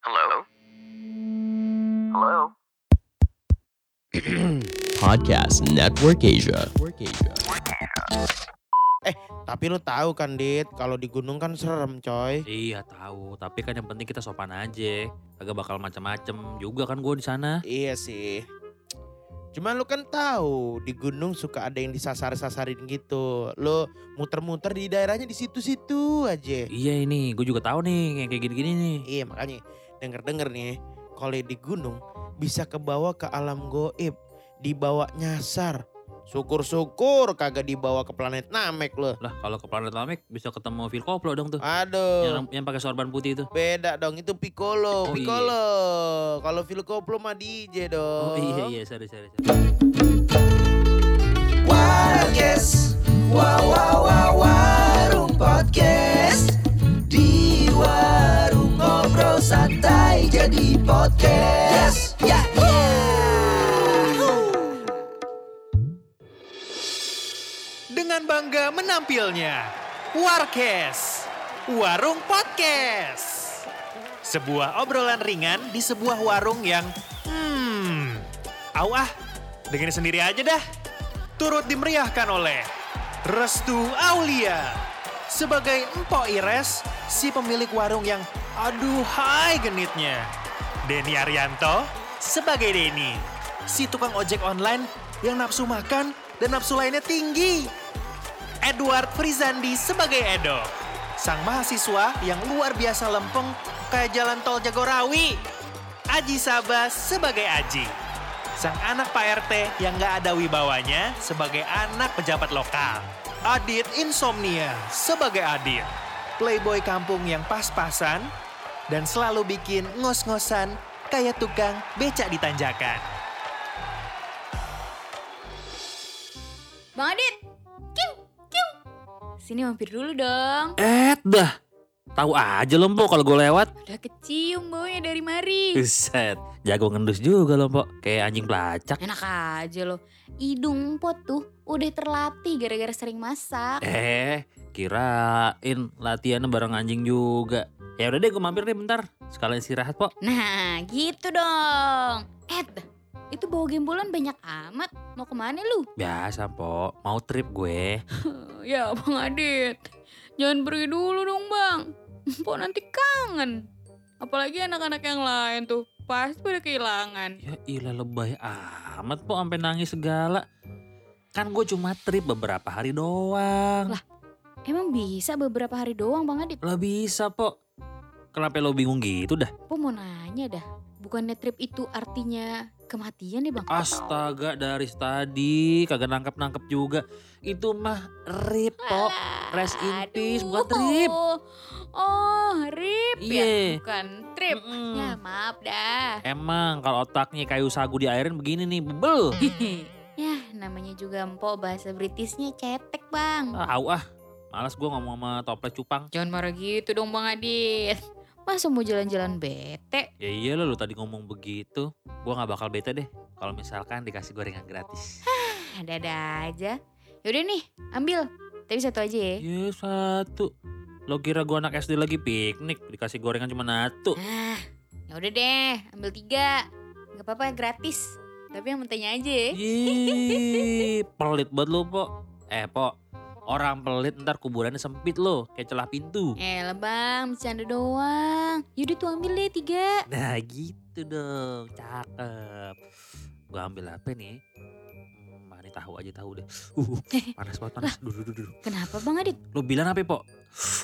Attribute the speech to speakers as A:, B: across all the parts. A: Hello? Hello?
B: Podcast Network Asia.
C: Tapi lu tahu kan, Dit, kalau di gunung kan serem, coy.
D: Iya tahu, tapi kan yang penting kita sopan aja. Kagak bakal macam-macam juga kan gue di sana.
C: Iya sih. Cuman lu kan tahu di gunung suka ada yang disasar-sasarin gitu. Lu muter-muter di daerahnya di situ-situ aja.
D: Iya ini, gue juga tahu nih yang kayak gini-gini nih.
C: Iya, makanya denger-denger nih, kalau di gunung bisa kebawa ke alam goib, dibawa nyasar. Syukur-syukur kagak dibawa ke planet Namek lu.
D: Lah kalau ke planet Lamek bisa ketemu Phil Koplo dong tuh.
C: Aduh.
D: Yang, yang pakai sorban putih itu.
C: Beda dong itu Piccolo,
D: Oh, iya.
C: Piccolo. Kalau Phil Koplo mah DJ dong.
D: Oh iya iya, sorry sorry. sorry.
E: Warkes Wow wow wow warung podcast Di warung ngobrol santai jadi podcast Ya ya
F: dengan bangga menampilnya Warkes Warung Podcast sebuah obrolan ringan di sebuah warung yang hmm au ah dengerin sendiri aja dah turut dimeriahkan oleh Restu Aulia sebagai Empok Ires si pemilik warung yang aduhai genitnya Denny Arianto sebagai Denny si tukang ojek online yang nafsu makan dan nafsu lainnya tinggi Edward Frizandi sebagai Edo. Sang mahasiswa yang luar biasa lempeng kayak jalan tol Jagorawi. Aji Sabah sebagai Aji. Sang anak Pak RT yang gak ada wibawanya sebagai anak pejabat lokal. Adit Insomnia sebagai Adit. Playboy kampung yang pas-pasan dan selalu bikin ngos-ngosan kayak tukang becak di tanjakan.
G: Bang Adit, kiu, kiu. Sini mampir dulu dong.
D: Eh dah. Tahu aja lo Mpok kalau gue lewat.
G: Udah kecium baunya dari mari.
D: Buset, jago ngendus juga lo Mpok. Kayak anjing pelacak.
G: Enak aja loh. Hidung pot tuh udah terlatih gara-gara sering masak.
D: Eh, kirain latihannya bareng anjing juga. Ya udah deh gue mampir deh bentar. Sekalian istirahat Pok.
G: Nah, gitu dong. Ed, itu bawa gembolan banyak amat. Mau kemana lu?
D: Biasa Pok, mau trip gue.
G: Ya, Bang Adit. Jangan pergi dulu dong, Bang. Mpok nanti kangen. Apalagi anak-anak yang lain tuh. Pasti pada kehilangan.
D: Ya ilah lebay amat po sampai nangis segala. Kan gue cuma trip beberapa hari doang.
G: Emang bisa beberapa hari doang, Bang Adit?
D: Lah bisa po. Kenapa lo bingung gitu dah?
G: Aku mau nanya dah, bukannya trip itu artinya kematian ya bang?
D: Astaga dari tadi kagak nangkep-nangkep juga. Itu mah rip
G: Ah,
D: po.
G: Alah,
D: Rest in peace,
G: aduh.
D: bukan trip.
G: Oh, rip
D: Iye.
G: ya, bukan trip.
D: Iya. Mm-mm.
G: Ya maaf dah.
D: Emang kalau otaknya kayu sagu di airin begini nih, bebel.
G: ya namanya juga empok bahasa Britishnya cetek bang.
D: Ah, Au ah, malas gue ngomong sama toples cupang.
G: Jangan marah gitu dong bang Adit. Masa mau jalan-jalan bete?
D: Ya iya lo tadi ngomong begitu. Gue gak bakal bete deh kalau misalkan dikasih gorengan gratis.
G: Ada-ada aja. Yaudah nih, ambil. Tapi satu aja ya.
D: Ya satu. Lo kira gua anak SD lagi piknik dikasih gorengan cuma satu.
G: Ah, ya udah deh, ambil tiga. Gak apa-apa, gratis. Tapi yang mentenya aja ya.
D: Ih, pelit banget lo po. Eh po, orang pelit ntar kuburannya sempit lo kayak celah pintu.
G: Eh lah bang, bercanda doang. Yaudah tuh ambil deh tiga.
D: Nah gitu dong, cakep. Gua ambil apa nih? Hmm, Mana tahu aja tahu deh. Uh, panas banget panas. Duh, duh, duh, duh.
G: Kenapa bang Adit?
D: Lo bilang apa po?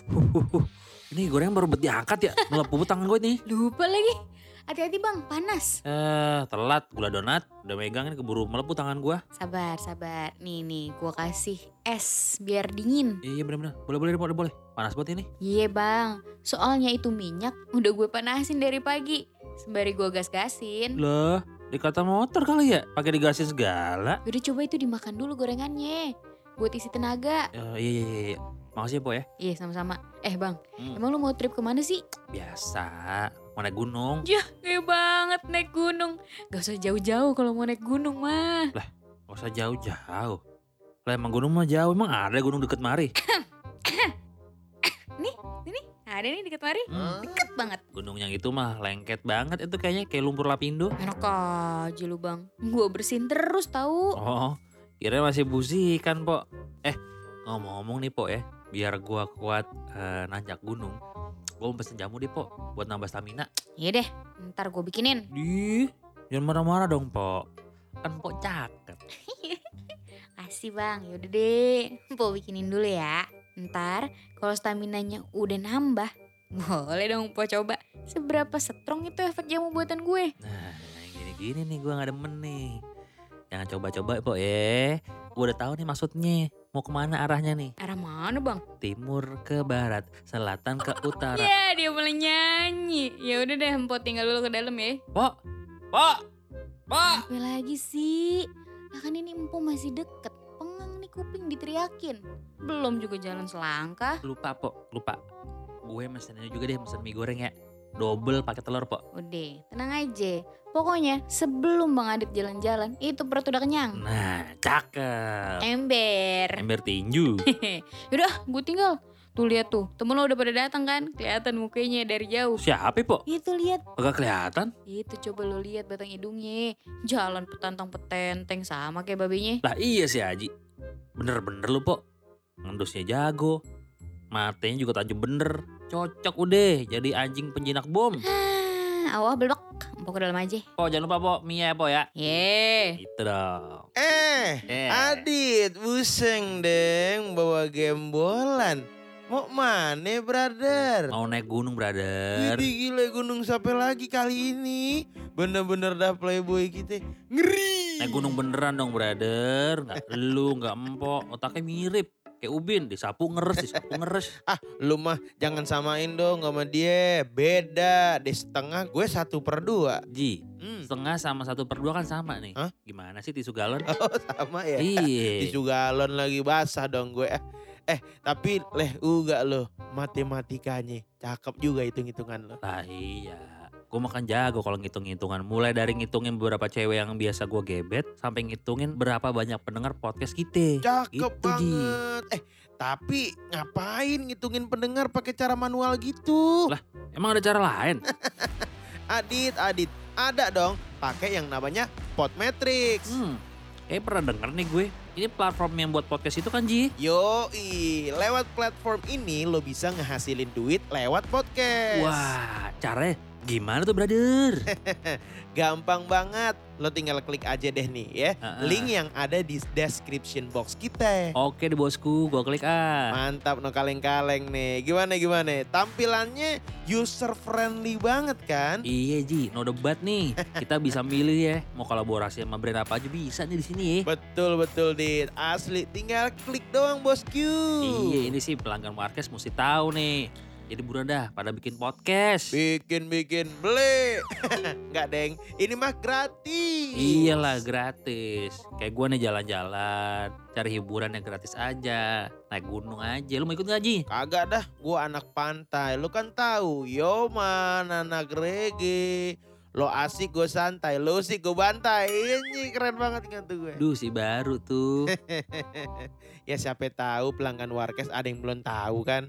D: Uh, uh, uh. Ini gorengan baru bet diangkat ya. Melepup tangan gue nih.
G: Lupa lagi. Hati-hati bang, panas.
D: Eh, telat gula donat. Udah megang ini keburu melepup tangan gua.
G: Sabar, sabar. Nih nih, gua kasih es biar dingin.
D: Iya bener-bener. Boleh boleh boleh boleh. Panas banget ini.
G: Iya bang, soalnya itu minyak udah gue panasin dari pagi. Sembari gua gas-gasin.
D: Loh, dikata motor kali ya? Pakai digasin segala.
G: Yaudah Ya coba itu dimakan dulu gorengannya. Buat isi tenaga.
D: Eh, iya iya iya, iya. Makasih ya, Po ya.
G: Iya sama-sama. Eh bang,
D: Hmm,
G: emang lu mau trip kemana sih?
D: biasa. Mau naik gunung.
G: Kayak banget naik gunung. Gak usah jauh-jauh kalau mau naik gunung mah.
D: Gak usah jauh-jauh. Lah emang gunung mah jauh, emang ada gunung deket mari.
G: Nah ada nih deket mari. Deket banget.
D: Gunung yang itu mah lengket banget itu kayaknya kayak lumpur lapindo.
G: Enak aja lu bang. Gue bersihin terus tahu.
D: Oh, kira masih busikan, Po. Eh, ngomong-ngomong nih, Po ya. Biar gua kuat eh, nanjak gunung. Gua mau pesen jamu deh, Po, buat nambah stamina.
G: Iya deh, ntar gue bikinin.
D: Di, jangan marah-marah dong, Po. Kan Po cakep.
G: Kasih bang, yaudah deh. Mpok bikinin dulu ya. Ntar kalau staminanya udah nambah, boleh dong Mpok coba. Seberapa strong itu efek jamu buatan gue.
D: Nah, yang gini-gini nih gua nggak demen nih. Jangan coba-coba, Po ya. Gua udah tahu nih maksudnya. Mau kemana arahnya nih?
G: Arah mana bang?
D: Timur ke barat, selatan ke utara.
G: Ya dia boleh nyanyi. Ya udah deh Mpok tinggal dulu ke dalam ya.
D: Po, Po, Po.
G: Apa lagi sih? Lah kan ini empu masih deket. Pengang nih kuping diteriakin. Belum juga jalan selangkah.
D: Lupa, Po, lupa. Gue mesen ini juga deh, mesen mie goreng ya. Double pakai telur, Po.
G: Udah, tenang aja. Pokoknya sebelum Bang Adit jalan-jalan, itu perut udah kenyang.
D: Nah, cakep.
G: Ember.
D: Ember tinju.
G: Yaudah, gue tinggal. Tuh lihat tuh, temen lo udah pada datang kan? Kelihatan mukanya dari jauh.
D: Siapa, Po?
G: Itu lihat,
D: Agak kelihatan.
G: itu coba lo lihat batang hidungnya. Jalan petantang petenteng sama kayak babinya.
D: Lah iya sih Haji. Bener-bener lu, Po. Ngendusnya jago. Matanya juga tajam bener. Cocok udah jadi anjing penjinak bom.
G: Ah, Awah belok, empok ke dalam aja.
D: Po, jangan lupa, Po. Mie ya, Po ya.
G: Iya. Ye,
D: Itu dong.
C: Eh,
D: Eh.
C: Adit, buseng deng bawa gembolan. Mau mana, brother?
D: Mau naik gunung, brother.
C: Widih gila gunung sampai lagi kali ini. Bener-bener dah playboy kita. Ngeri.
D: Naik gunung beneran dong, brother. Nggak lu, nggak empok. Otaknya mirip. Kayak ubin, disapu ngeres, disapu ngeres.
C: Ah, lu mah jangan samain dong sama dia. Beda. Di setengah gue satu per dua.
D: Ji,
C: Hmm.
D: setengah sama satu per dua kan sama nih.
C: Hah?
D: Gimana sih tisu galon?
C: Oh, sama ya.
D: Iya.
C: Tisu galon lagi basah dong gue. Eh, Eh, tapi leh uga lo matematikanya. Cakep juga hitung-hitungan lo.
D: Lah iya. Gue makan jago kalau ngitung-ngitungan. Mulai dari ngitungin beberapa cewek yang biasa gue gebet. Sampai ngitungin berapa banyak pendengar podcast kita.
C: Cakep
D: Gitu, Ji.
C: banget. Eh, tapi ngapain ngitungin pendengar pakai cara manual gitu?
D: Lah. Emang ada cara lain?
C: Adit, Adit, ada dong pakai yang namanya Podmetrics.
D: Hmm. Kayaknya pernah denger nih gue. Ini platform yang buat podcast itu kan Ji?
C: Yoi, lewat platform ini lo bisa ngehasilin duit lewat podcast.
D: Wah, caranya gimana tuh brother?
C: Gampang banget. Lo tinggal klik aja deh nih ya.
D: Heeh.
C: Link yang ada di description box kita.
D: Oke di bosku, gue klik ah.
C: Mantap no kaleng-kaleng nih. Gimana gimana? Tampilannya user friendly banget kan?
D: Iya Ji, no debat nih. Kita bisa milih ya, mau kolaborasi sama brand apa aja bisa nih di sini ya.
C: Betul betul Dit. Asli tinggal klik doang bosku.
D: Iya ini sih pelanggan Marquez mesti tahu nih. Jadi buruan dah pada bikin podcast.
C: Bikin bikin beli. Enggak deng. Ini mah gratis.
D: Iyalah Iya gratis. Kayak gue nih jalan-jalan, cari hiburan yang gratis aja, naik gunung aja. Lu mau ikut gak Ji?
C: Kagak dah, gua anak pantai. Lu kan tahu, Yoman anak reggae. Lo asik gue santai, lo sih gue bantai. Ini keren banget kan tuh gue.
D: Duh si baru tuh.
C: ya siapa tahu pelanggan Warkes ada yang belum tahu kan.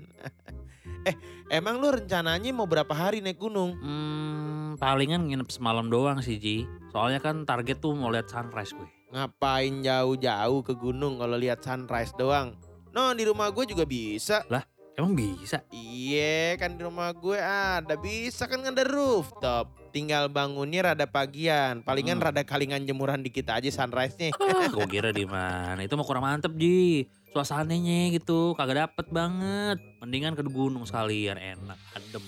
C: eh, emang lu rencananya mau berapa hari naik gunung?
D: Hmm, palingan nginep semalam doang sih Ji. Soalnya kan target tuh mau lihat sunrise gue.
C: Ngapain jauh-jauh ke gunung kalau lihat sunrise doang? No, di rumah gue juga bisa.
D: Emang bisa?
C: Iya, kan di rumah gue ada bisa kan ada rooftop. Tinggal bangunnya rada pagian, palingan
D: Hmm.
C: rada kalingan jemuran dikit aja sunrise-nya.
D: Ah, gue kira di mana? Itu mah kurang mantep Ji. Suasananya gitu kagak dapet banget. Mendingan ke gunung sekalian enak, adem.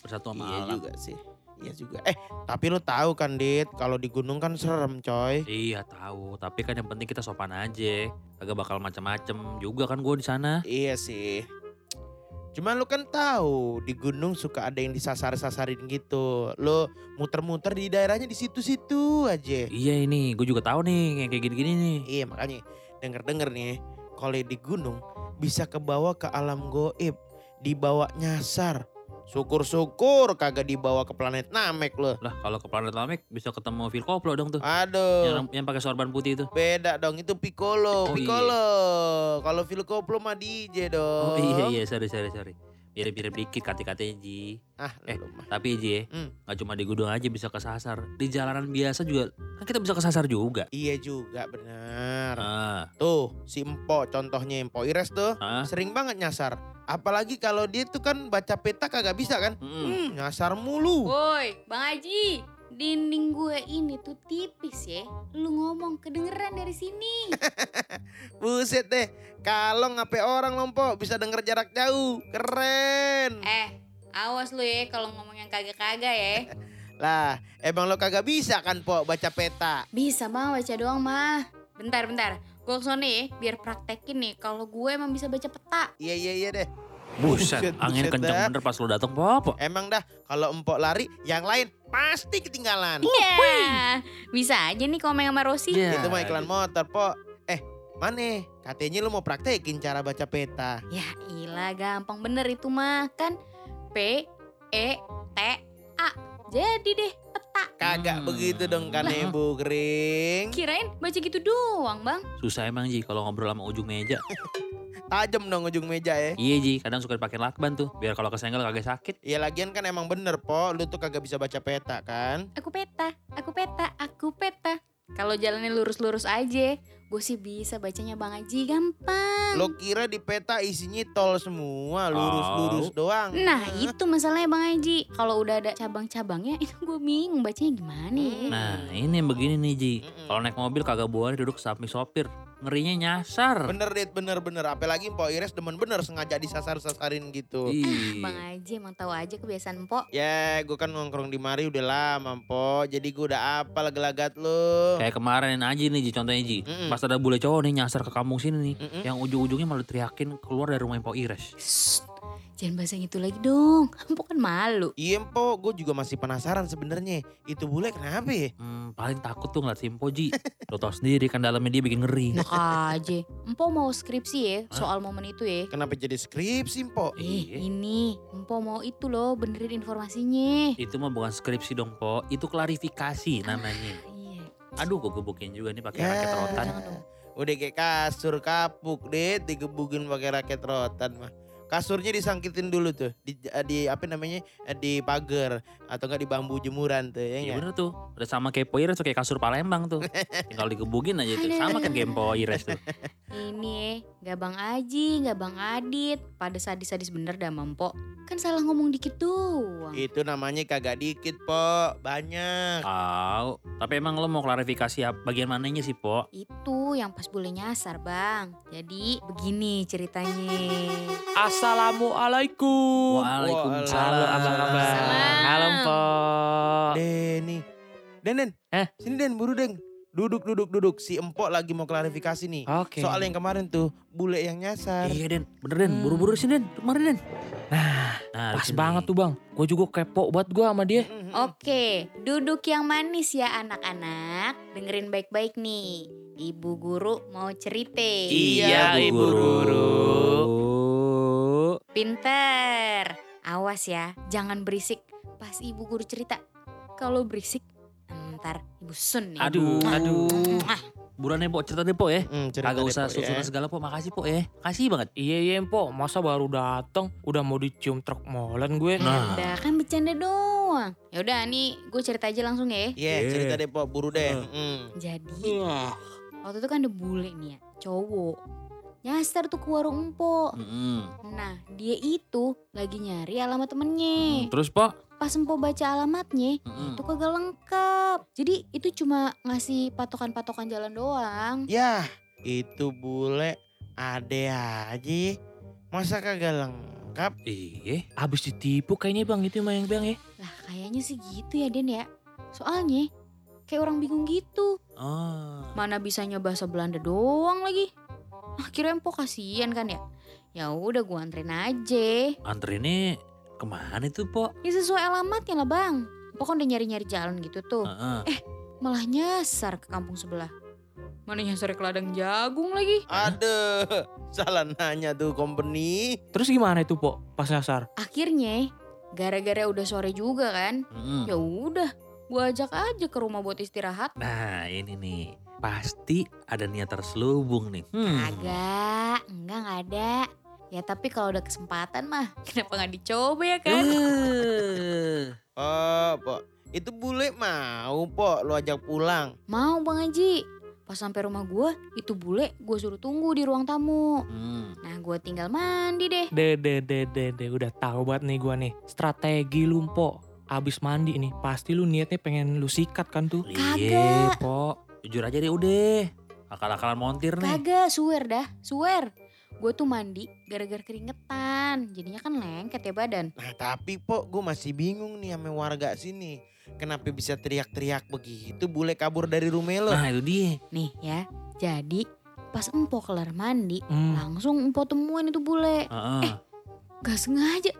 D: Bersatu sama
C: iya
D: alam.
C: juga sih. Iya juga. Eh, tapi lu tahu kan, Dit, kalau di gunung kan serem, coy.
D: Iya tahu, tapi kan yang penting kita sopan aja. Kagak bakal macam-macam juga kan gue di sana.
C: Iya sih. Cuman lu kan tahu di gunung suka ada yang disasar-sasarin gitu. Lu muter-muter di daerahnya di situ-situ aja.
D: Iya ini, gue juga tahu nih yang kayak gini-gini nih.
C: Iya makanya denger-denger nih kalau di gunung bisa kebawa ke alam goib, dibawa nyasar. Syukur-syukur kagak dibawa ke planet Namek lo.
D: Lah kalau ke planet Lamek bisa ketemu Phil Koplo dong tuh.
C: Aduh.
D: Yang, yang pakai sorban putih itu.
C: Beda dong itu Piccolo,
D: Oh, iya.
C: Piccolo. Kalau Phil Koplo mah DJ dong.
D: Oh iya iya Oh, sorry sorry sorry. mirip-mirip dikit kati-katanya Ji.
C: Ah,
D: Eh,
C: lu mah.
D: Tapi Ji ya,
C: Hmm.
D: nggak cuma di gudang aja bisa kesasar. Di jalanan biasa juga, kan kita bisa kesasar juga.
C: Iya juga benar.
D: Ah,
C: Tuh, si Empo contohnya Empo Ires tuh
D: ah,
C: sering banget nyasar. Apalagi kalau dia tuh kan baca peta kagak bisa kan?
D: mm,
C: Hmm, nyasar mulu.
G: Woi, Bang Haji, dinding gue ini tuh tipis ya. Lu ngomong kedengeran dari sini.
C: Buset deh, kalau ngape orang lompo bisa denger jarak jauh. Keren.
G: eh, awas lu ya kalau ngomong yang kagak-kagak ya.
C: Lah, emang lo kagak bisa kan Po baca peta?
G: Bisa mah baca doang mah. Bentar, bentar. Gue kesana ya, biar praktekin nih kalau gue emang bisa baca peta.
C: Iya iya iya deh.
D: Buset, angin
C: buset
D: kenceng
C: dah.
D: bener pas lo datang apa?
C: Emang dah kalau empok lari, yang lain pasti ketinggalan.
G: Iya, bisa aja nih komeng sama Rosi.
C: Itu mah iklan motor, Po. Eh, mana? Katanya lu mau praktekin cara baca peta.
G: Ya ilah, gampang bener itu mah. Kan P, E, T, A. Jadi deh, peta.
C: Kagak
D: Hmm.
C: begitu dong kan ibu kering.
G: Kirain baca gitu doang, Bang.
D: Susah emang Ji kalau ngobrol sama ujung meja.
C: Tajam dong ujung meja ya.
D: iya Ji, kadang suka dipakai lakban tuh, biar kalau kesenggol kagak sakit.
C: Ya lagian kan emang bener po, lu tuh kagak bisa baca peta kan?
G: Aku peta, aku peta, aku peta. Kalau jalannya lurus-lurus aja, gue sih bisa bacanya Bang Haji gampang.
C: Lo kira di peta isinya tol semua, lurus-lurus doang.
G: Nah itu masalahnya Bang Haji. Kalau udah ada cabang-cabangnya, itu gue bingung bacanya gimana. ya.
D: Nah, ini yang begini nih Ji.
C: Mm-mm.
D: Kalau naik mobil kagak boleh duduk samping sopir. Ngerinya nyasar.
C: Bener dit, bener-bener. Apalagi Mpok Ires demen bener sengaja disasar-sasarin gitu.
D: Ih.
G: Bang Haji emang tahu aja kebiasaan Mpok.
C: Ya, gue kan nongkrong di mari udah lama, Po. Jadi gue udah apal gelagat lu.
D: Kayak kemarin aja nih Ji, contohnya Ji.
C: Mm-mm.
D: Pas ada bule cowok nih nyasar ke kampung sini nih.
C: Mm-mm.
D: Yang ujung-ujungnya malah teriakin keluar dari rumah Pak Ires.
G: Shh, jangan bahas yang itu lagi dong. Mpok kan malu.
C: Iya, Po. Gue juga masih penasaran sebenarnya. Itu bule kenapa ya?
D: Hmm, paling takut tuh ngeliat Simpo Ji. Lo tau sendiri kan dalamnya dia bikin ngeri.
C: Nah,
G: Enak aja. Mpok mau skripsi ya soal momen itu ya.
C: Kenapa jadi skripsi, Po?
G: Eh,
D: Iya.
G: ini Mpok mau itu loh benerin informasinya.
D: Itu mah bukan skripsi dong Po, itu klarifikasi namanya.
G: Iya.
D: Aduh gue gebukin juga nih pakai
C: Ya.
D: raket rotan.
G: Jangan dong.
C: Udah kayak kasur kapuk, Dit. Digebukin pakai raket rotan mah. Kasurnya disangkitin dulu tuh. Di, eh, di apa namanya? eh, Di pagar. Atau enggak di bambu jemuran tuh, ya nggak?
D: Iya bener tuh, udah sama kayak Po Ires tuh kayak kasur Palembang tuh. Tinggal digebukin aja tuh, sama kan kayak Po Ires tuh.
G: Ini
H: Oh.
G: ya, gak Bang Aji, gak Bang Adit. Pada sadis-sadis bener dah mampok. Kan salah ngomong dikit doang.
C: Itu namanya kagak dikit, Po. Banyak.
D: Tau, tapi emang lo mau klarifikasi apa- bagian mananya sih Po?
G: Itu yang pas boleh nyasar bang. Jadi begini ceritanya.
H: Assalamualaikum. Uh, Halo,
D: Waalaikumsalam.
H: apa kabar?
G: Salam.
H: Eh, Halo,
D: Oh.
H: Mpok.
C: Deni. Den, Den.
H: Eh?
C: Sini Den, buru Den. Duduk, duduk, duduk. Si Empok lagi mau klarifikasi nih.
H: Oke.
C: Soal yang kemarin tuh, bule yang nyasar.
D: Iya Den, bener Den, buru-buru sini Den, kemarin Den.
H: Nah,
D: Nah,
H: Hmm. pas banget tuh, Bang. Gue juga kepo buat gue sama
D: Iya.
H: dia.
C: Mm-mm.
D: Oh.
G: Oke, duduk yang manis ya anak-anak. Dengerin baik-baik nih. Ibu guru mau cerita.
H: Iya, Ibu Guru.
G: Pinter. Awas ya, jangan berisik pas ibu guru cerita. Kalau berisik, ntar ibu sun nih.
D: Aduh,
G: Mwah,
D: aduh.
G: mwah.
D: Buruan ya Po, cerita deh Po ya.
C: Mm, cerita
D: Kagak
C: deh,
D: usah
C: Pok,
D: susunan
C: ya.
D: segala Po, makasih Po ya. Makasih banget.
H: Iya, iya, Mpok. Masa baru dateng udah mau dicium truk molen gue.
D: Nah.
G: Udah kan bercanda doang. Ya udah nih, gue cerita aja langsung
C: Iya,
G: ya.
D: Iya.
C: cerita deh Pok, buru deh.
D: Heeh.
C: Mm.
G: Jadi, waktu itu kan ada bule nih ya, cowok. Nyasar tuh ke warung empok.
D: Mm-mm.
G: Nah, dia itu lagi nyari alamat temennya.
D: Terus Po?
G: Pas Empo baca alamatnya,
D: Mm-mm.
G: itu kagak lengkap. Jadi itu cuma ngasih patokan-patokan jalan doang.
C: Yah, itu bule ade aja. Masa kagak lengkap?
D: Iya.
H: Abis ditipu kayaknya, Bang. Itu mah yang Bang ya.
G: Lah, kayaknya sih gitu ya, Den ya. Soalnya kayak orang bingung gitu.
D: Oh.
G: Mana bisanya bahasa Belanda doang lagi. Akhirnya Empo kasihan kan ya. Ya udah gua anterin aja.
D: Anterinnya kemana tuh Po?
G: Ya sesuai alamatnya lah, Bang. Empo kan udah nyari-nyari jalan gitu tuh.
D: Heeh.
G: malah nyasar ke kampung sebelah. Mana nyasar ke ladang jagung lagi?
C: Aduh, salah nanya tuh company.
H: Terus gimana itu, Pok? Pas nyasar.
G: Akhirnya, gara-gara udah sore juga kan,
D: Mm-mm.
G: ya udah, gua ajak aja ke rumah buat istirahat.
D: Nah ini nih. Pasti ada niat terselubung nih. Hmm.
G: Agak, enggak enggak ada. Ya tapi kalau udah kesempatan mah kenapa nggak dicoba ya kan?
D: Iya. Eh,
C: Oh, Pok. Itu bule mau, Pok, lu ajak pulang.
G: Mau Bang Haji. Pas sampai rumah gua, itu bule gua suruh tunggu di ruang tamu.
D: hmm.
G: Nah gua tinggal mandi deh.
H: Deh, deh, deh, deh, deh. Udah tahu banget nih gua nih. Strategi lu, Po. Abis mandi nih, pasti lu niatnya pengen lu sikat kan tuh.
D: Iya, po. Jujur aja deh udah. Akal-akalan montir nih.
G: Kagak, swear dah, swear. Gue tuh mandi gara-gara keringetan, jadinya kan lengket ya badan.
C: Nah, tapi Pok, gue masih bingung nih sama warga sini. Kenapa bisa teriak-teriak begitu bule kabur dari rumah lo?
D: Nah itu dia.
G: Nih ya, jadi pas empo kelar mandi,
H: Hmm.
G: langsung empo temuin itu bule.
D: Heeh.
C: Eh.
G: Gak sengaja.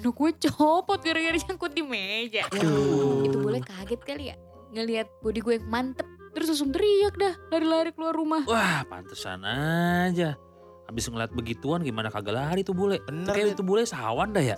G: Aduh gue copot gara-gara nyangkut di meja. Itu bule kaget kali ya, ngelihat body gue yang mantep. Terus langsung teriak dah, lari-lari keluar rumah.
D: Wah pantesan aja. Habis ngeliat begituan gimana kagak lari tuh bule.
C: Bener,
D: Itu
C: Dit.
D: Kayak itu bule sawan dah ya.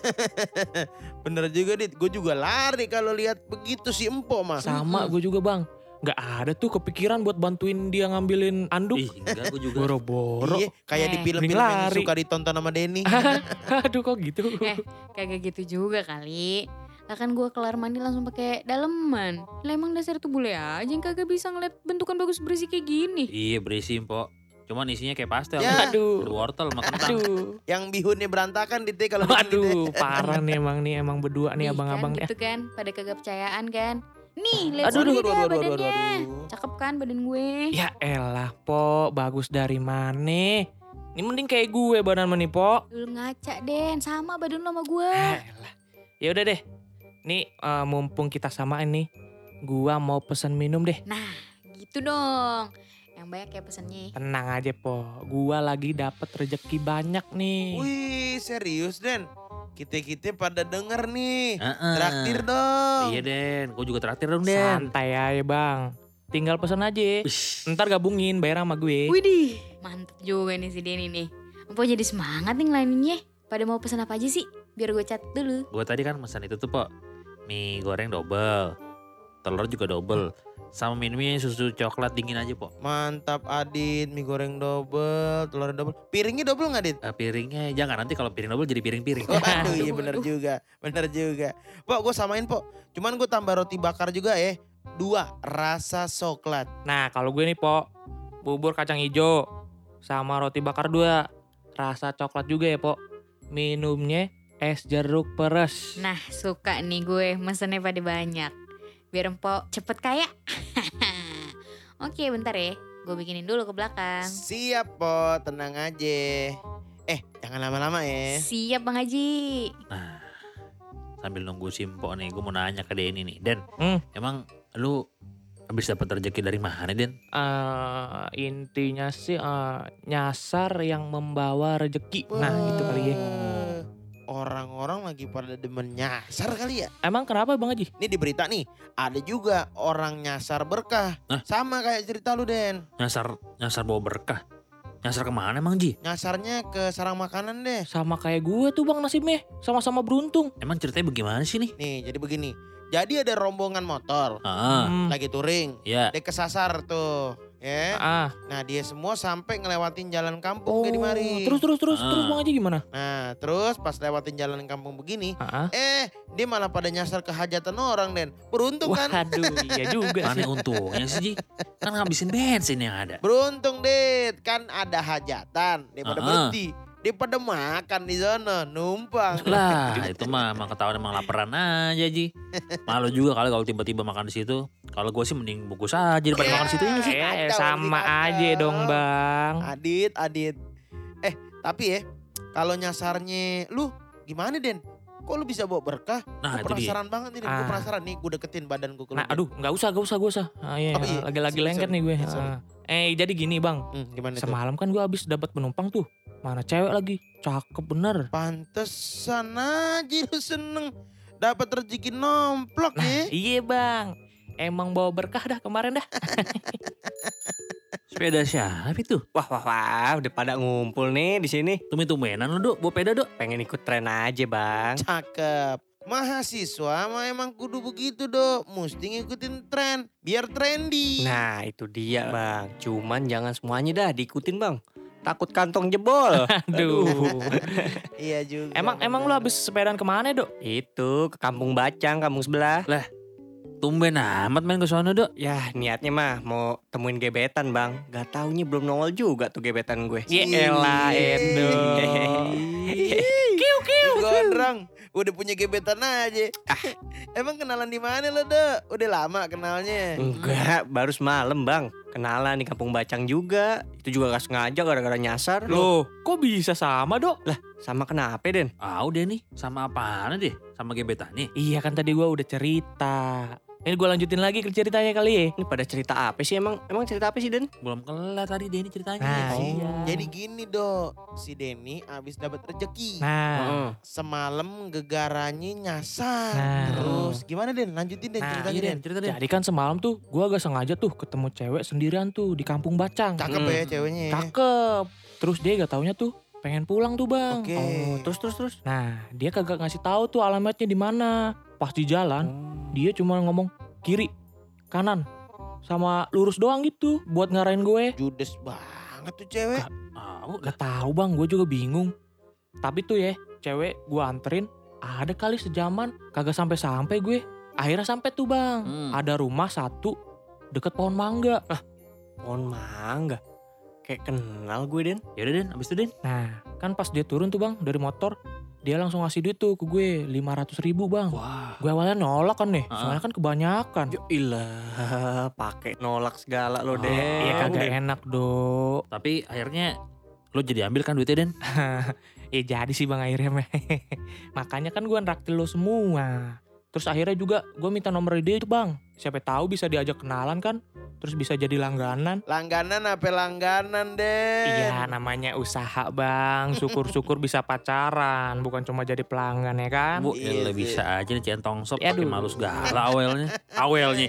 C: Bener juga, Dit. Gue juga lari kalau lihat begitu si Empo mah.
H: Sama gue juga, Bang. Gak ada tuh kepikiran buat bantuin dia ngambilin anduk.
D: Ih enggak gue juga.
H: Boro-boro.
C: Iya, kayak di
G: Eh.
C: film-film
H: Mending
C: yang
H: lari. Ah.
C: suka ditonton sama Denny.
H: Aduh kok gitu.
G: Eh. Kagak gitu juga kali. Lah kan gue kelar mandi langsung pakai daleman. Lah emang dasar tuh bule aja yang kagak bisa ngeliat bentukan bagus berisi kayak gini.
D: Iya berisi po. Cuman isinya kayak pastel.
C: Ya.
D: Ada
H: Aduh.
D: wortel sama kentang.
H: Aduh.
C: yang bihunnya berantakan, Dit, ya, kalau begitu, Dit.
H: Aduh, parah nih emang nih emang berdua nih
G: Ih,
H: abang-abang
G: kan
H: nih.
G: gitu kan pada kagak percayaan kan nih
C: ya.
G: lihat
C: Aduh, aduh, aduh,
G: sendiri dah
C: aduh, aduh, aduh,
G: badannya
C: aduh. Iya.
G: cakep kan badan gue
H: Ya elah, Po. Bagus dari mana? Ini mending kayak gue badan meni, Po.
G: lu ngaca den sama badan lo sama gue
C: Eh.
H: Elah. Ya udah deh. Nih eh, mumpung kita samaan nih. Gua mau pesen minum deh.
G: nah gitu dong yang banyak ya pesennya
H: Tenang aja, Po. Gua lagi dapat rejeki banyak nih.
C: Wih, serius, Den. Kita-kita pada denger nih.
D: Heeh.
C: Traktir dong.
D: Iya Den, gue juga traktir dong Den.
H: Santai aja, Bang. Tinggal pesen aja.
D: Wih,
H: Ntar gabungin bayar sama gue.
G: widih mantep juga nih si Denny nih empo jadi semangat nih ngelaninnya pada mau pesan apa aja sih biar gue cat dulu
D: Gue tadi kan pesan itu tuh po Mie goreng double Telur juga double Sama minumnya susu coklat dingin aja po
C: Mantap Adit, mie goreng double, telur double. Piringnya double nggak Adit?
D: Eh, Piringnya jangan nanti kalau piring double jadi piring-piring
C: Waduh iya
G: Aduh.
C: bener juga, bener juga. Pok gue samain pok, cuman gue tambah roti bakar juga ya. Dua, rasa coklat.
H: Nah, kalau gue nih, Po. Bubur kacang hijau sama roti bakar dua. Rasa coklat juga ya, Po. Minumnya es jeruk peres.
G: nah suka nih gue mesennya pada banyak biar empo cepet kaya oke bentar ya gue bikinin dulu ke belakang
C: Siap pok, tenang aja. Eh jangan lama-lama ya.
G: siap bang Haji
D: Nah, Sambil nunggu simpo nih Gue mau nanya ke Denny nih Den
H: Hmm.
D: emang lu habis dapat rezeki dari mana Den?
H: eh intinya sih eh, nyasar yang membawa rejeki. Nah, gitu kali ya.
C: Wah, Orang-orang lagi pada demen nyasar kali ya.
H: Emang kenapa Bang Haji?
C: Ini di berita nih, ada juga orang nyasar berkah.
D: Hah?
C: Sama kayak cerita lu Den.
D: Nyasar nyasar bawa berkah Nyasar kemana emang Ji?
C: Nyasarnya ke sarang makanan deh.
H: Sama kayak gue tuh Bang nasibnya. Sama-sama beruntung.
D: Emang ceritanya bagaimana sih nih?
C: Nih jadi begini, jadi ada rombongan motor
D: Ah,
H: Hmm.
C: lagi touring.
D: ya.
C: Dia kesasar tuh. Ya.
H: Ah, Oh,
C: Nah, dia semua sampai ngelewatin jalan kampung kayak di mari.
H: terus terus terus
D: Oh.
H: terus
D: Ah.
H: Bang Haji gimana?
C: Nah, terus pas lewatin jalan kampung begini,
H: Ah, ah.
C: eh dia malah pada nyasar ke hajatan orang, Den. Beruntung kan?
H: Waduh, iya juga
D: Mana
H: sih.
D: untungnya sih Ji? Kan ngabisin bensin yang ada
C: Beruntung, Dit. Kan ada hajatan daripada
D: Ah.
C: berhenti. Dia pada makan di sana, numpang.
D: Lah Ah, itu mah emang ketahuan emang laparan aja Ji Malu juga kali kalau tiba-tiba makan di situ Kalau gue sih mending bungkus aja daripada makan di situ ini sih
H: Eh,
C: Ada,
H: sama
C: ada.
H: aja dong, Bang.
C: Adit, Adit. Eh, tapi ya kalau nyasarnya lu gimana, Den? Kok lu bisa bawa berkah?
D: Nah
C: Gue
D: itu dia
C: penasaran banget nih, Den. Gue
H: Ah.
C: penasaran nih, gue deketin badan gue ke lu,
H: Nah,
C: Den.
H: aduh, nggak usah, nggak usah, nggak usah. Ah, iya,
C: Oh, iya.
H: lagi-lagi
C: Sorry,
H: lengket
C: sorry.
H: nih gue.
C: Eh, sorry.
H: Ah. Eh, jadi gini, Bang.
C: Hmm, gimana tuh?
H: Semalam kan gue habis dapat penumpang tuh. Mana cewek lagi? Cakep bener.
C: Pantesan aja lu seneng dapat rezeki nomplok
H: Nah,
C: ya.
H: iya, Bang. Emang bawa berkah dah kemarin dah.
D: Sepeda siapa itu?
I: Wah wah wah udah pada ngumpul nih di sini.
D: Tumben-tumbenan lu dok, bawa peda dok
I: Pengen ikut tren aja,
H: kan?
I: Bang.
C: Cakep. Mahasiswa mah emang kudu begitu dok. Mesti ngikutin tren. Biar trendy.
I: Nah, itu dia, Bang. Cuman jangan semuanya dah diikutin, Bang. Takut kantong jebol.
H: Aduh.
C: Iya juga.
H: emang emang lu habis sepedaan kemana, Dok?
I: Itu ke kampung Bacang, kampung sebelah.
D: Tumben amat main ke sono, Dok.
I: Yah niatnya mah mau temuin gebetan bang. Gak taunya belum nongol juga tuh gebetan gue.
H: Ya elah, Edo.
C: Kiu kiu. Gondrong, udah punya gebetan aja.
H: Ah.
C: Emang kenalan di mana lo, Dok? Udah lama kenalnya.
H: Hmm.
I: Enggak, baru semalam bang. Kenalan di kampung Bacang juga. Itu juga gak sengaja gara-gara nyasar.
H: Loh, kok bisa sama, Dok? Lah,
I: Sama kenapa Den?
D: Ah udah nih, sama apaan deh? Sama gebetan nih.
H: iya kan tadi gua udah cerita. Ini gua lanjutin lagi ke ceritanya kali ya.
I: Ini pada cerita apa sih emang? Emang cerita apa sih Den?
D: Belum kelar tadi deh ini ceritanya.
H: Nah,
D: Oh.
H: iya.
C: Jadi gini, Dok. Si Denny abis dapat rezeki.
H: Nah,
I: Heeh.
C: Semalam gegarannya nyasar.
H: Nah.
C: Terus gimana, Den? Lanjutin, Den,
H: Nah,
C: ceritanya,
D: Iya, Den,
C: Den.
D: cerita Den.
H: jadi kan semalam tuh gua agak sengaja tuh ketemu cewek sendirian tuh di kampung Bacang.
C: Cakep
I: Mm.
C: ya ceweknya. ya.
H: Hmm. Cakep. Terus dia gak taunya tuh pengen pulang tuh, Bang.
C: Oke.
I: Oh, terus terus terus.
H: Nah, dia kagak ngasih tahu tuh alamatnya di mana. Pas di
I: Oh.
H: jalan, dia cuma ngomong kiri, kanan, sama lurus doang gitu buat ngarahin gue.
C: Judes banget tuh cewek.
D: Ah,
H: Gak tahu bang, gue juga bingung. Tapi tuh ya, cewek gue anterin, ada kali sejaman kagak sampai-sampai gue. Akhirnya sampai tuh bang,
D: Hmm.
H: ada rumah satu deket pohon mangga.
I: Pohon mangga. Kayak kenal gue Den.
D: Ya udah Den, abis itu Den.
H: Nah, kan pas dia turun tuh bang dari motor, dia langsung ngasih duit tuh ke gue 500 ribu bang.
D: Wah.
H: Gue awalnya nolak kan nih,
D: Ah.
H: soalnya kan kebanyakan.
I: Yo ilah, pakai nolak segala lo
D: Ah,
I: Den.
H: Iya kagak enak dok.
D: Tapi akhirnya lo jadi ambil kan duitnya Den?
H: Ya jadi sih bang akhirnya meh. Makanya kan gue nraktir lo semua. Terus akhirnya juga gue minta nomor dia itu bang. Siapa tahu bisa diajak kenalan kan. Terus bisa jadi langganan.
C: Langganan apa langganan, Den?
H: Iya namanya usaha bang. Syukur-syukur bisa pacaran. Bukan cuma jadi pelanggan ya kan.
D: Bu, ya
C: Iya
D: lo
C: sih.
D: bisa aja nih centong sop
H: Aduh.
D: pakai malu segala awalnya. Awalnya,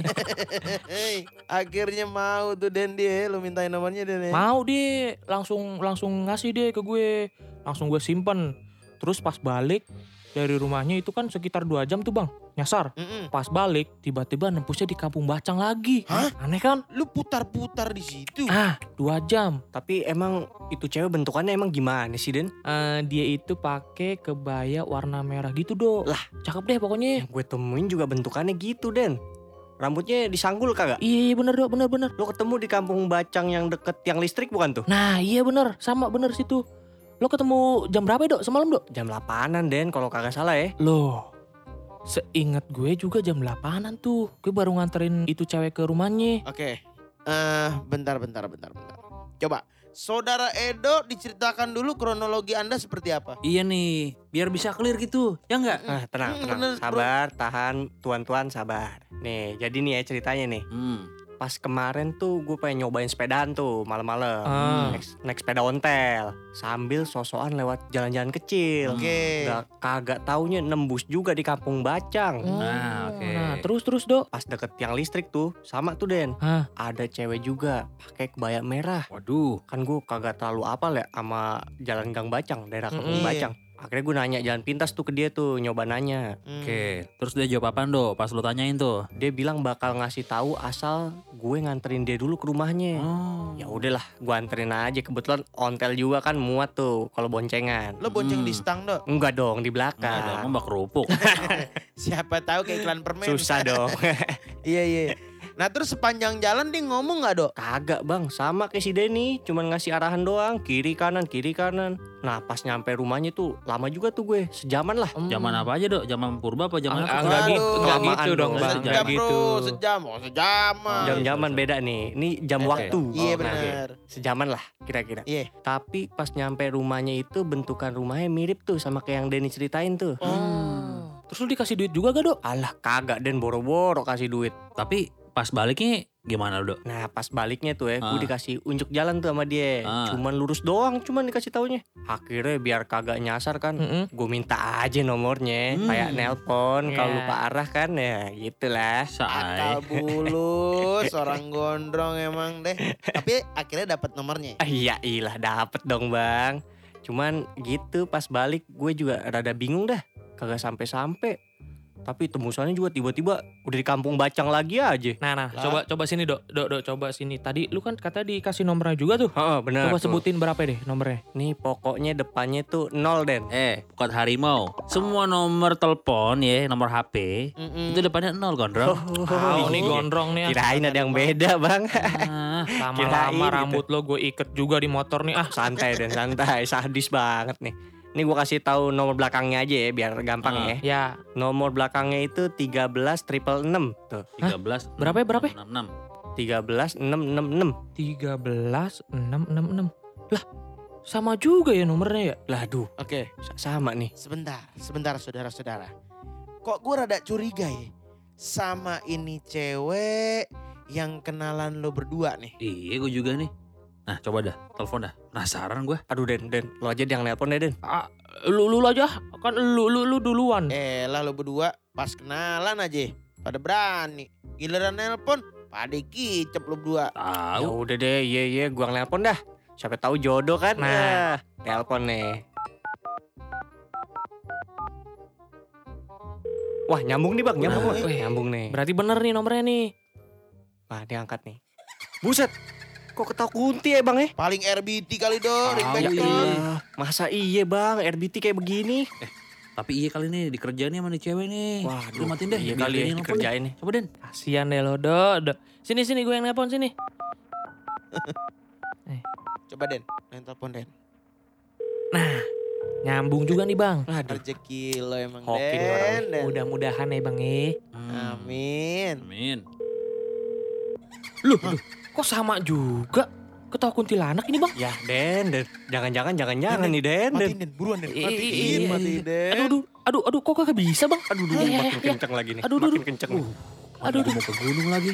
C: Hei, akhirnya mau tuh Den dia, lu mintain nomornya Den. ya.
H: Mau deh langsung langsung ngasih deh ke gue. Langsung gue simpen. Terus pas balik dari rumahnya itu kan sekitar dua jam tuh bang. Nyasar.
C: Mm-mm.
H: Pas balik tiba-tiba nempusnya di kampung Bacang lagi.
C: Hah?
H: Aneh kan?
C: Lu putar-putar di situ.
H: Ah, dua jam.
I: Tapi emang itu cewek bentukannya emang gimana sih Den?
H: Eh, dia itu pakai kebaya warna merah gitu do. Lah, cakep deh pokoknya.
I: Yang gue temuin juga bentukannya gitu Den. Rambutnya disanggul kagak?
H: Iya, iya bener do, bener bener.
I: Lo ketemu di kampung Bacang yang deket yang listrik bukan tuh?
H: Nah, iya bener, sama bener situ. Lo ketemu jam berapa do? Semalam do?
I: Jam 8-an Den kalau kagak salah ya.
H: Loh, seingat gue juga jam 8-an tuh. Gue baru nganterin itu cewek ke rumahnya.
C: Oke. Eh, bentar bentar bentar bentar. Coba Saudara Edo diceritakan dulu kronologi Anda seperti apa?
D: iya nih, biar bisa clear gitu. Ya enggak?
I: Ah, tenang,
C: Hmm,
I: tenang.
C: bener, bro.
I: sabar, tahan, tuan-tuan sabar. Nih, jadi nih ya ceritanya nih.
D: Hmm.
I: Pas kemarin tuh gue pengen nyobain sepedaan tuh malam-malam.
H: Ah,
I: Naik, naik sepeda ontel sambil sosokan lewat jalan-jalan kecil.
C: Oke.
I: Nggak- kagak taunya nembus juga di kampung
H: Hmm.
I: Bacang.
D: Nah, oke.
H: Oh. Nah, terus terus do.
I: Pas deket yang listrik tuh sama tuh Den.
H: Hah?
I: Ada cewek juga pakai kebaya merah.
D: Waduh.
I: Kan gue kagak terlalu apal ya sama jalan Gang Bacang, daerah kampung
C: Mm-mm.
I: Bacang. Akhirnya gue nanya jalan pintas tuh ke dia tuh nyoba nanya.
C: Hmm.
D: Oke, terus dia jawab apaan do? Pas lo tanyain tuh.
I: dia bilang bakal ngasih tahu asal gue nganterin dia dulu ke rumahnya.
D: Oh.
I: Ya udahlah, gue anterin aja. Kebetulan ontel juga kan muat tuh kalau boncengan.
C: Lo bonceng di
D: Hmm.
C: stang, Dok.
I: Enggak dong, di
D: Nah, ada
I: belakang.
D: mbak kerupuk.
C: Siapa tahu kayak iklan permen.
I: Susah dong.
C: iya, iya. Nah, terus sepanjang jalan dia ngomong nggak, Dok?
I: Kagak bang, sama kayak si Denny, cuman ngasih arahan doang, kiri kanan, kiri kanan. Nah pas nyampe rumahnya tuh lama juga tuh gue, sejaman lah.
D: Zaman apa aja do? Zaman purba apa zaman
H: Ah,
D: apa?
H: enggak gitu, enggak
I: Aduh,
H: gitu dong, Bang.
D: kelamaan
H: Enggak
C: Sejam,
D: dong.
H: gitu.
C: Bro, sejam. Oh, sejaman.
D: Jam-
I: Jam-jaman beda nih, ini jam
D: Oke.
I: waktu.
C: Iya,
I: Oh, nah,
C: benar.
I: Sejaman lah kira-kira.
C: Iya.
I: Tapi pas nyampe rumahnya itu bentukan rumahnya mirip tuh sama kayak yang Denny ceritain tuh.
D: Oh.
H: Terus lu dikasih duit juga gak do?
I: Alah kagak Den boro-boro kasih duit.
D: Tapi pas baliknya gimana do?
I: Nah pas baliknya tuh ya
D: Ah.
I: gue dikasih unjuk jalan tuh sama dia.
D: Ah.
I: Cuman lurus doang cuman dikasih taunya. Akhirnya biar kagak nyasar kan.
H: Mm-mm.
I: Gue minta aja nomornya
D: Hmm.
I: kayak nelpon
H: Ya.
I: kalau lupa arah kan ya gitulah.
D: Saai.
C: Akal bulus, orang gondrong emang deh. Tapi akhirnya dapat nomornya.
I: Ah, iya ilah dapet dong bang. Cuman gitu pas balik gue juga rada bingung dah. Kagak sampai-sampai. Tapi tembusannya juga tiba-tiba udah di kampung bacang lagi aja.
H: Nah, nah,
C: Lah.
H: coba coba sini, Dok. Dok, Dok, coba sini. Tadi lu kan kata dikasih nomornya juga tuh.
I: Heeh, benar.
H: Coba
I: Nah, tuh.
H: sebutin berapa deh nomornya.
I: Nih pokoknya depannya tuh nol Den.
D: Eh, kot harimau. Semua nomor telepon ya, nomor HP. Itu depannya nol
I: Oh.
D: gondrong. iya.
H: Tahu nih gondrong nih. ah.
I: Kirain ada yang beda bang.
D: Ah,
I: kirain
H: Lama-lama
I: gitu.
H: rambut lo gue iket juga di motor nih. Ah,
I: santai Den, santai. Sadis banget nih. Ini gua kasih tahu nomor belakangnya aja ya biar gampang
D: Ah.
I: ya.
H: ya.
I: Nomor belakangnya itu 13 triple 6 tuh.
D: 13.
H: Berapa ya, berapa ya?
D: 66.
I: 13 666.
H: 13666. Lah, sama juga ya nomornya ya.
I: Lah duh,
C: Oke,
I: sa- sama nih.
C: sebentar, sebentar saudara-saudara. Kok gue rada curiga ya sama ini cewek yang kenalan lo berdua nih.
D: Iya, gue juga nih. Nah, coba dah, telepon dah. Penasaran gue.
I: Aduh Den, Den, lo aja deh yang nelpon deh Den.
H: Ah, lu lu aja, kan lu lu lu duluan.
C: Eh lah lo berdua pas kenalan aja pada berani. Giliran nelpon pada kicep lo berdua.
I: Ya
D: Tahu.
I: udah deh, iya iya, gua nelpon dah. Siapa tahu jodoh kan.
H: Nah.
I: Ya, nelpon nih. Wah, nyambung nih Bang, nyambung.
H: Nah,
I: Bang.
H: weh.
I: nyambung nih.
H: Berarti bener nih nomornya nih.
I: Wah, dia angkat nih. Buset. Kok ketawa kunti ya, Bang ya?
C: Paling RBT kali do,
D: Tahu,
C: ringback
D: iya.
C: do.
I: Masa iya, Bang? RBT kayak begini.
D: Tapi iya kali nih dikerjain nih sama nih cewek nih.
I: Waduh,
D: Lu matiin deh.
I: Iya
D: biar dia
I: kali ya
D: yang nelfon deh.
I: dikerjain nih.
D: Coba Den.
H: Kasian deh lo, Dok. Dok. Sini sini gue yang nelpon sini.
C: Coba Den, main telepon Den.
H: Nyambung juga nih, Bang.
I: Aduh.
C: Rezeki lo emang
I: Hoki nih orang.
C: Den. Den.
H: Mudah-mudahan ya, Bang eh.
D: Hmm.
C: Amin.
D: Amin.
H: Loh, aduh, kok sama juga? Ketawa kuntilanak ini, Bang.
I: Ya, Den, Den. Jangan-jangan jangan-jangan nih, Den, Den.
C: Matiin Den, buruan Den.
H: Iya,
C: Matiin,
H: iya,
C: matiin Den.
H: Aduh, aduh, aduh, aduh, kok kagak bisa, Bang?
I: Aduh,
H: Ya,
I: duh,
H: ya,
I: makin
H: ya.
I: kenceng lagi nih.
H: Aduh, aduh,
I: Makin
H: aduh.
I: kenceng. nih.
D: Aduh,
H: Aduh,
D: aduh. mau ke gunung lagi.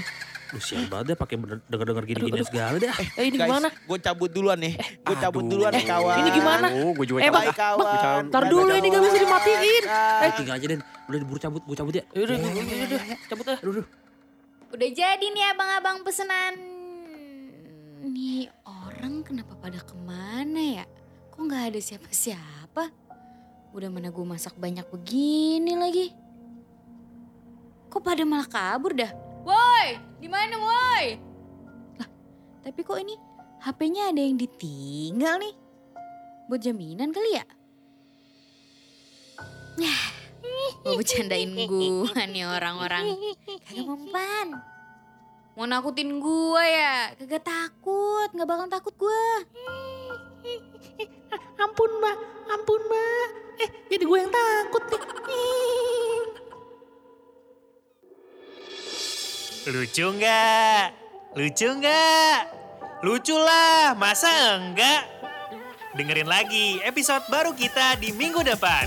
D: Lu sial banget deh pakai bener- denger-denger gini-gini
H: Aduh, aduh.
D: segala deh.
H: Eh, ini gimana?
C: Gue cabut duluan nih. Gue cabut
I: Aduh.
C: duluan nih kawan.
H: ini gimana?
I: Oh, gue juga
H: Eh,
I: cabut
H: Bang,
C: Bye,
I: ah.
C: kawan.
H: Ntar dulu, ini gak bisa dimatiin.
D: Eh, tinggal aja Den. Udah diburu cabut, gue cabut ya.
H: Yaudah, yaudah, yaudah, cabut lah.
G: Udah jadi nih abang-abang pesenan. Nih orang kenapa pada kemana ya? Kok nggak ada siapa-siapa? Udah mana gue masak banyak begini lagi. Kok pada malah kabur dah? Woi, di mana woi? Lah, tapi kok ini HP-nya ada yang ditinggal nih? Buat jaminan kali ya? Yah, mau bercandain gue nih orang-orang. Kagak mempan. Mau nakutin gua ya? Kagak takut, nggak bakal takut gua.
J: Ampun mbak, ampun mbak. Eh jadi gue yang takut nih.
F: Lucu nggak? Lucu nggak? Lucu lah, masa enggak? Dengerin lagi episode baru kita di minggu depan.